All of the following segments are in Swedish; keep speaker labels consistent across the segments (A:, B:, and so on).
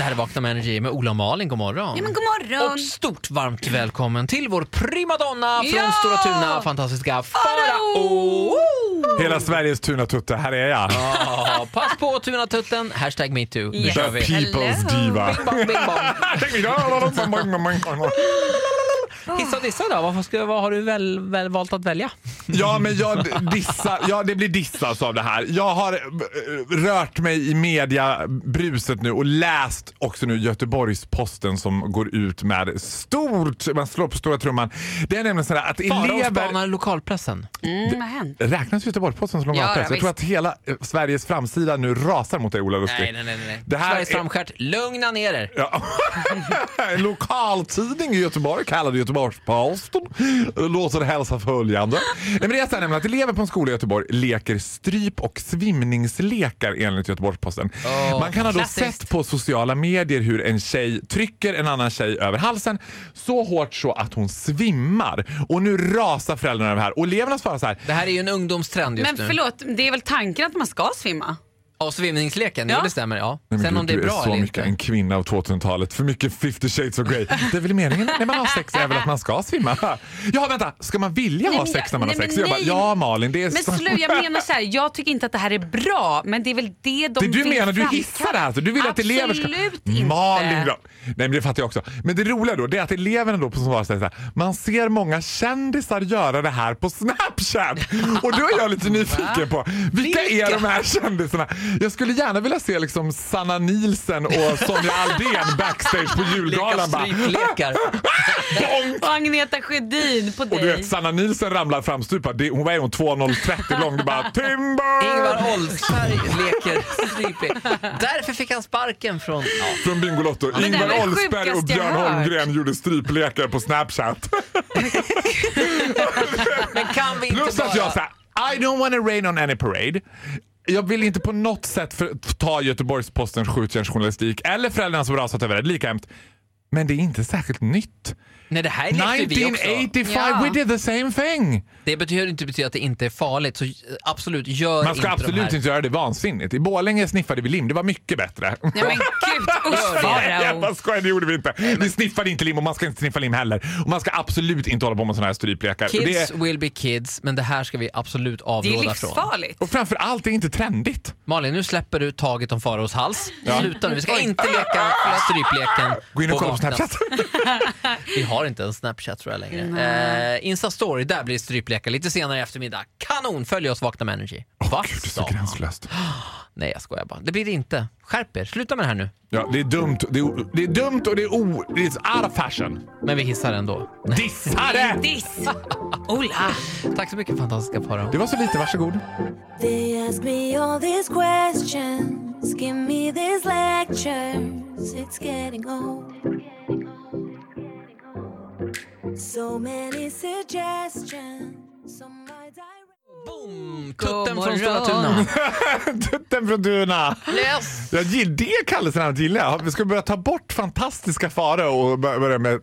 A: här är Vakna med Energy med Ola och Malin. God morgon.
B: Ja, men god morgon!
A: Och stort varmt välkommen till vår primadonna från
B: Ja!
A: Stora Tuna, fantastiska Farao!
B: Farao!
C: Hela Sveriges tunatutte, här är jag.
A: Ja, Pass på Tunatutten, hashtag metoo. Nu
B: Yes.
A: kör
C: The
A: vi.
C: people's
B: Hello.
C: diva.
A: Bing bong, bing bong. Hissa och dissa då, vad, ska, vad har du väl, väl valt att välja?
C: Ja, men jag dissa, ja, det blir dissas av det här. Jag har eh, rört mig i mediabruset nu och läst också nu Göteborgs-Posten som går ut med stort, man slår på stora trumman. Det är nämligen sådär att
A: Farao
C: elever...
A: spanar lokalpressen.
B: Mm, vad hänt?
C: Räknas Göteborgs-Posten som
B: Ja,
C: lokalpress?
B: ja,
C: jag tror
B: visst.
C: att hela eh, Sveriges framsida nu rasar mot dig Ola Lustig.
A: Nej, nej, nej. nej.
C: Det här
A: Sveriges
C: är-
A: framskärt, lugna ner er.
C: Ja. En lokaltidning i Göteborg kallad Göteborgs-Posten låter hälsa följande. Nej, men det är så här, nämligen att elever på en skola i Göteborg leker stryp och svimningslekar enligt Göteborgs-Posten.
A: Åh,
C: Man kan ha då
A: klassiskt.
C: sett på sociala medier hur en tjej trycker en annan tjej över halsen så hårt så att hon svimmar. Och nu rasar föräldrarna över det här. Och eleverna svarar så här.
A: Det här är ju en ungdomstrend just
B: Men
A: nu.
B: förlåt, det är väl tanken att man ska svimma?
A: Ja, svimningsleken, ja.
B: Ja.
A: det stämmer. Ja.
C: Nej, men
A: Sen
C: gud,
A: om det är
C: du
A: bra
C: så
A: eller
C: mycket
A: inte.
C: en kvinna av 2000-talet. För mycket 50 shades of Grey. Det är väl meningen när man har sex är väl att man ska svimma? Ja, vänta. Ska man vilja
B: Nej,
C: ha
B: men
C: sex
B: jag-
C: när man har
B: nej,
C: sex?
B: men
C: Jag bara,
B: nej.
C: ja, Malin. Det är
B: Men
C: så...
B: slu, jag menar så här, jag tycker inte att det här är bra, men det är väl det de
C: Det du
B: vill
C: menar, du
B: framkalla.
C: hissar det här. Så du vill att elever ska...
B: Absolut inte.
C: Malin då. Nej, men det fattar jag också. Men det roliga då, det är att eleverna då på som svarar säger så här. Man ser många kändisar göra det här på Snapchat. Och då är jag lite nyfiken på, vilka är
A: Vilka?
C: de här kändisarna? Jag skulle gärna vilja se liksom Sanna Nielsen och Sonja Aldén backstage på
A: Leka
C: julgalan. bara,
A: stryplekar.
C: Bonk!
B: Och Agneta Sjödin på dig.
C: Och du vet, Sanna Nielsen ramlar framstupad. Det- Hon var ju 2,030 lång. Det bara Timber!
B: Äh.
A: Ingvar Oldsberg leker stryplek. Därför fick han sparken från... Ja.
C: Från Bingolotto.
B: det
C: Ingvar
B: var det
C: Oldsberg och
B: sjukaste jag
C: Björn
B: hört.
C: Holmgren gjorde stryplekar på Snapchat.
A: Men kan vi inte
C: Plus
A: bara...
C: att jag sa I don't wanna rain on any parade. Jag vill inte på något sätt för, ta Göteborgs-Postens skjutjärnsjournalistik eller föräldrarna som rasat över det. Lika hemskt. Men det är inte särskilt nytt.
A: Nej, det här lekte vi också.
C: 1985,
B: Ja.
C: we did the same thing.
A: Det betyder inte betyda att det inte är farligt, så eh, absolut, gör
C: Man ska
A: inte
C: absolut
A: de här.
C: inte göra det vansinnigt. I Borlänge sniffade vi lim, det var mycket bättre.
B: Nej men gud, usch
C: Nej, jag bara
B: Farao.
C: skojar, det gjorde vi inte. Vi sniffade inte lim och man ska inte sniffa lim heller. Och man ska absolut inte hålla på med såna här stryplekar. Och, det
A: Kids
C: är,
A: will be kids, men det här ska vi absolut
B: Det är liksom
A: avråda från.
B: livsfarligt.
C: och framför allt, det är inte trendigt.
A: Malin, nu släpper du taget om Faraos hals.
C: Ja.
A: Sluta nu, vi ska inte leka strypleken.
C: Gå in och kolla på
A: vakna.
C: Snapchat.
A: Vi har inte en Snapchat tror jag längre.
B: Nej.
A: Eh, Insta story, där blir det stryplekar lite senare i eftermiddag. Kanon! Följ oss Vakna med Energy.
C: Åh,
A: Vad
C: Gud, det är
A: sa
C: så
A: han?
C: gränslöst.
A: Nej jag skojar bara. Det blir det inte. Skärp er, sluta med det här nu.
C: Ja, det är dumt. Det är, o- det är dumt och det är o... It's out of fashion.
A: Men vi hissar ändå.
C: Dissade!
B: Diss! Ola!
A: Tack så mycket fantastiska Farao.
C: Det var så lite, varsågod.
D: They ask me all these questions, give me these lectures. It's getting old. So many suggestions. so might I-
A: Boom!
B: God
A: Mm, Tutten från
B: morgon.
A: Stora Tuna.
C: Tutten från Duna.
A: Yes!
C: Jag gill- Det kallelsenamnet gillar jag. Vi ska börja ta bort fantastiska faror och bör- börja med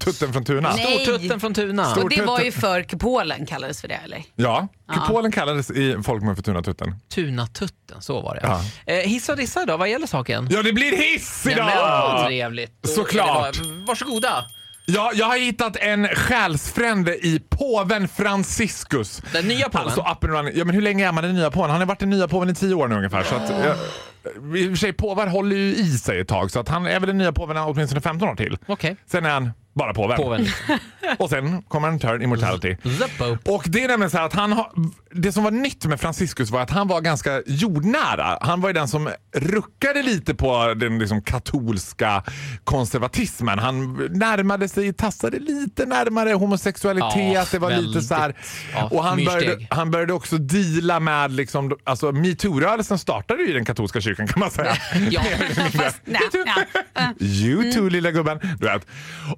C: Tutten från Tuna.
B: Nej.
A: Stortutten från Tuna.
B: Och det var ju för kupolen kallades för det eller?
C: Ja, kupolen kallades i folkmun för Tunatutten.
A: Tunatutten, så var det.
C: Ja.
A: Eh, hissa och dissa då, vad gäller saken?
C: Ja, det blir hiss
A: Ja, men, åh,
C: idag!
A: trevligt. Då
C: Såklart.
A: är det bara- Varsågoda.
C: Ja, jag har hittat en själsfrände i påven Franciscus.
A: Den nya påven?
C: Alltså, up and running. Ja, men hur länge är man den nya påven? Han har varit den nya påven i tio år nu ungefär. Så att, eh, I och för sig, påvar håller ju i sig ett tag, så att han är väl den nya påven åtminstone 15 år till.
A: Okej.
C: Sen är han bara påven.
A: Påven.
C: Och sen kommer en turn immortality.
A: The Pope.
C: Och det är nämligen så här att han har, det som var nytt med Franciscus var att han var ganska jordnära. Han var ju den som ruckade lite på den liksom katolska konservatismen. Han närmade sig, tassade lite närmare homosexualitet.
A: Ja,
C: det var lite
A: väldigt.
C: så här.
A: Ja,
C: och han började,
A: myrsteg.
C: han började också deala med, liksom, alltså metoo-rörelsen startade ju i den katolska kyrkan kan man säga.
A: Ja.
B: Fast nej, nej.
C: You too lilla gubben. Du vet.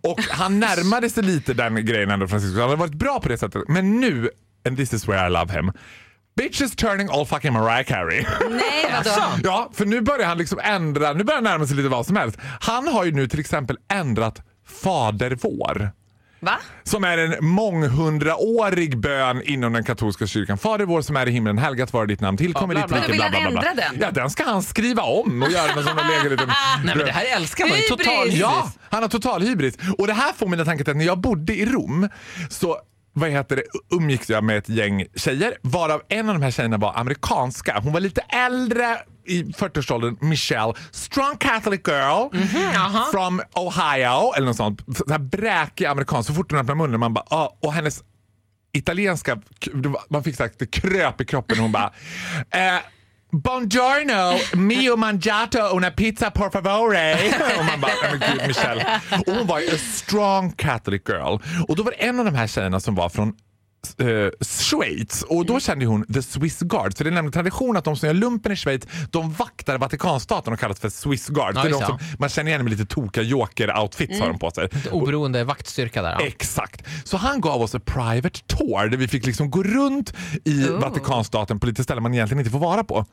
C: Och han närmade sig lite den grejen ändå Francisco. Han hade varit bra på det sättet. Men nu, and this is where I love him. Bitches turning all fucking Mariah Carey.
B: Nej vadå?
A: Jaså?
C: ja, för nu börjar han liksom ändra, nu börjar han närma sig lite vad som helst. Han har ju nu till exempel ändrat Fader vår.
B: Va?
C: som är en månghundraårig bön inom den katolska kyrkan. Fader vår som är i himlen, helgat vara ditt namn, tillkommer
A: Ja,
C: ditt
A: bla, bla.
C: rike.
B: Men då vill
C: bla,
B: han
C: bla, bla.
B: ändra den.
C: Ja, den ska han skriva om och göra den som en lägre liten...
A: Nej men det här älskar man ju.
B: Hybris!
A: Total hybris.
C: Ja, han har total hybris. Och det här får mina tankar till att när jag bodde i Rom så vad heter det, umgicks jag med ett gäng tjejer varav en av de här tjejerna var amerikanska. Hon var lite äldre i 40-årsåldern, Michelle. Strong Catholic girl from Ohio eller något sånt. Så här bräkig amerikan. Så fort hon öppnade munnen man bara ah, och hennes italienska, det var- man fick sagt det kröp i kroppen och hon bara eh, Buongiorno, mio mangiato una pizza por favore. Och man bara, "Nej, men gud Michelle. Och hon var ju a strong Catholic girl. Och då var det en av de här tjejerna som var från eh, Schweiz och
A: Mm.
C: då kände hon the Swiss Guard. För det är nämligen tradition att de som gör lumpen i Schweiz de vaktar Vatikanstaten och kallas för Swiss Guard.
A: Ja,
C: det är
A: just
C: de som,
A: det. Mm.
C: man känner igen med lite tokiga joker-outfits har de på sig.
A: Oberoende vaktstyrka där. Ja.
C: Exakt. Så han gav oss en private tour där vi fick liksom gå runt i
B: Oh.
C: Vatikanstaten på lite ställen man egentligen inte får vara på.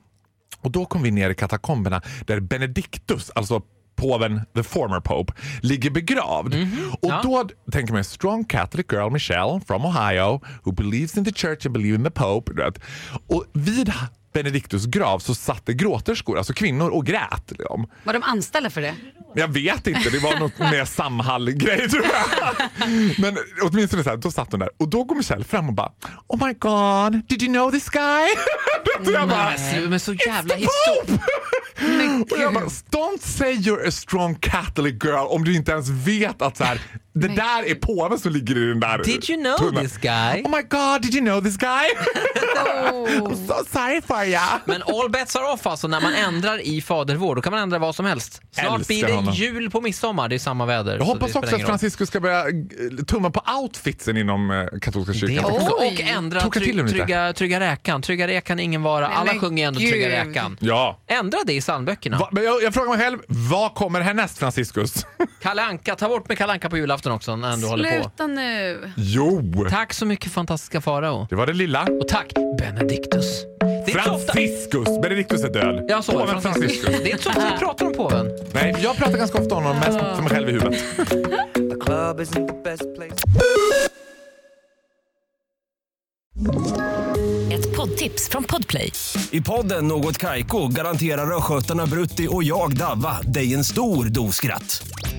C: Och då kom vi ner i katakomberna där Benedictus, alltså påven, the former pope, ligger begravd. Och
A: Mhm. ja.
C: då tänker man strong catholic girl Michelle from Ohio who believes in the church and believes in the pope. Du vet. Och vid Benedictus grav så satt det gråterskor, alltså kvinnor, och grät. Liksom.
B: Var de anställda för det?
C: Jag vet inte, det var något mer Samhall-grej tror jag. Men åtminstone så här, då satt hon där och då går Michelle fram och bara Oh my god, did you know this guy? och jag bara,
A: Men slu- Men så Mm. jävla
C: "It's the
A: historia.
C: Pope!" Och jag bara, don't say you're a strong catholic girl om du inte ens vet att så här, det där är påven som ligger i den där
A: Did you know
C: tunnan."
A: this guy?
C: Oh my god, did you know this guy? I'm so sorry for ya.
A: Men all bets are off alltså när man ändrar i Fader vår. Då kan man ändra vad som helst. Snart
C: Älskar
A: blir det
C: honom.
A: jul på midsommar. Det är samma väder.
C: Jag
A: så
C: hoppas
A: det spelar
C: också att
A: ingen roll.
C: Francisco ska börja eh, tumma på outfitsen inom eh, katolska kyrkan.
A: Det
C: också.
A: också.
B: Oj.
A: Och ändra
C: Toka till
A: try-
C: dem lite.
A: trygga, trygga räkan. Trygga räkan är ingen vara.
B: Nej,
A: Alla
B: men
A: sjunger ändå
B: gud.
A: Trygga räkan.
C: Ja.
A: Ändra det i psalmböckerna.
C: Va, men jag, jag frågar mig själv, vad kommer härnäst Franciscus?
A: Kalle Anka, ta bort med Kalle Anka på julafton också när du håller på.
B: Sluta nu.
C: Jo!
A: Tack så mycket fantastiska Farao.
C: Det var det lilla.
A: Och tack Benediktus. Det är inte så ofta-
C: Franciscus! Benedictus är död.
A: Ja, så,
C: Påven
A: Franciscus.
C: Franciscus.
A: Det är inte så ofta vi pratar om påven.
C: Nej, jag pratar ganska ofta om honom, mest för mig själv i huvudet.
E: club isn't the best place.
F: Ett poddtips från Podplay.
G: I podden Något Kaiko garanterar östgötarna Brutti och jag, Davva, dig en stor dos skratt.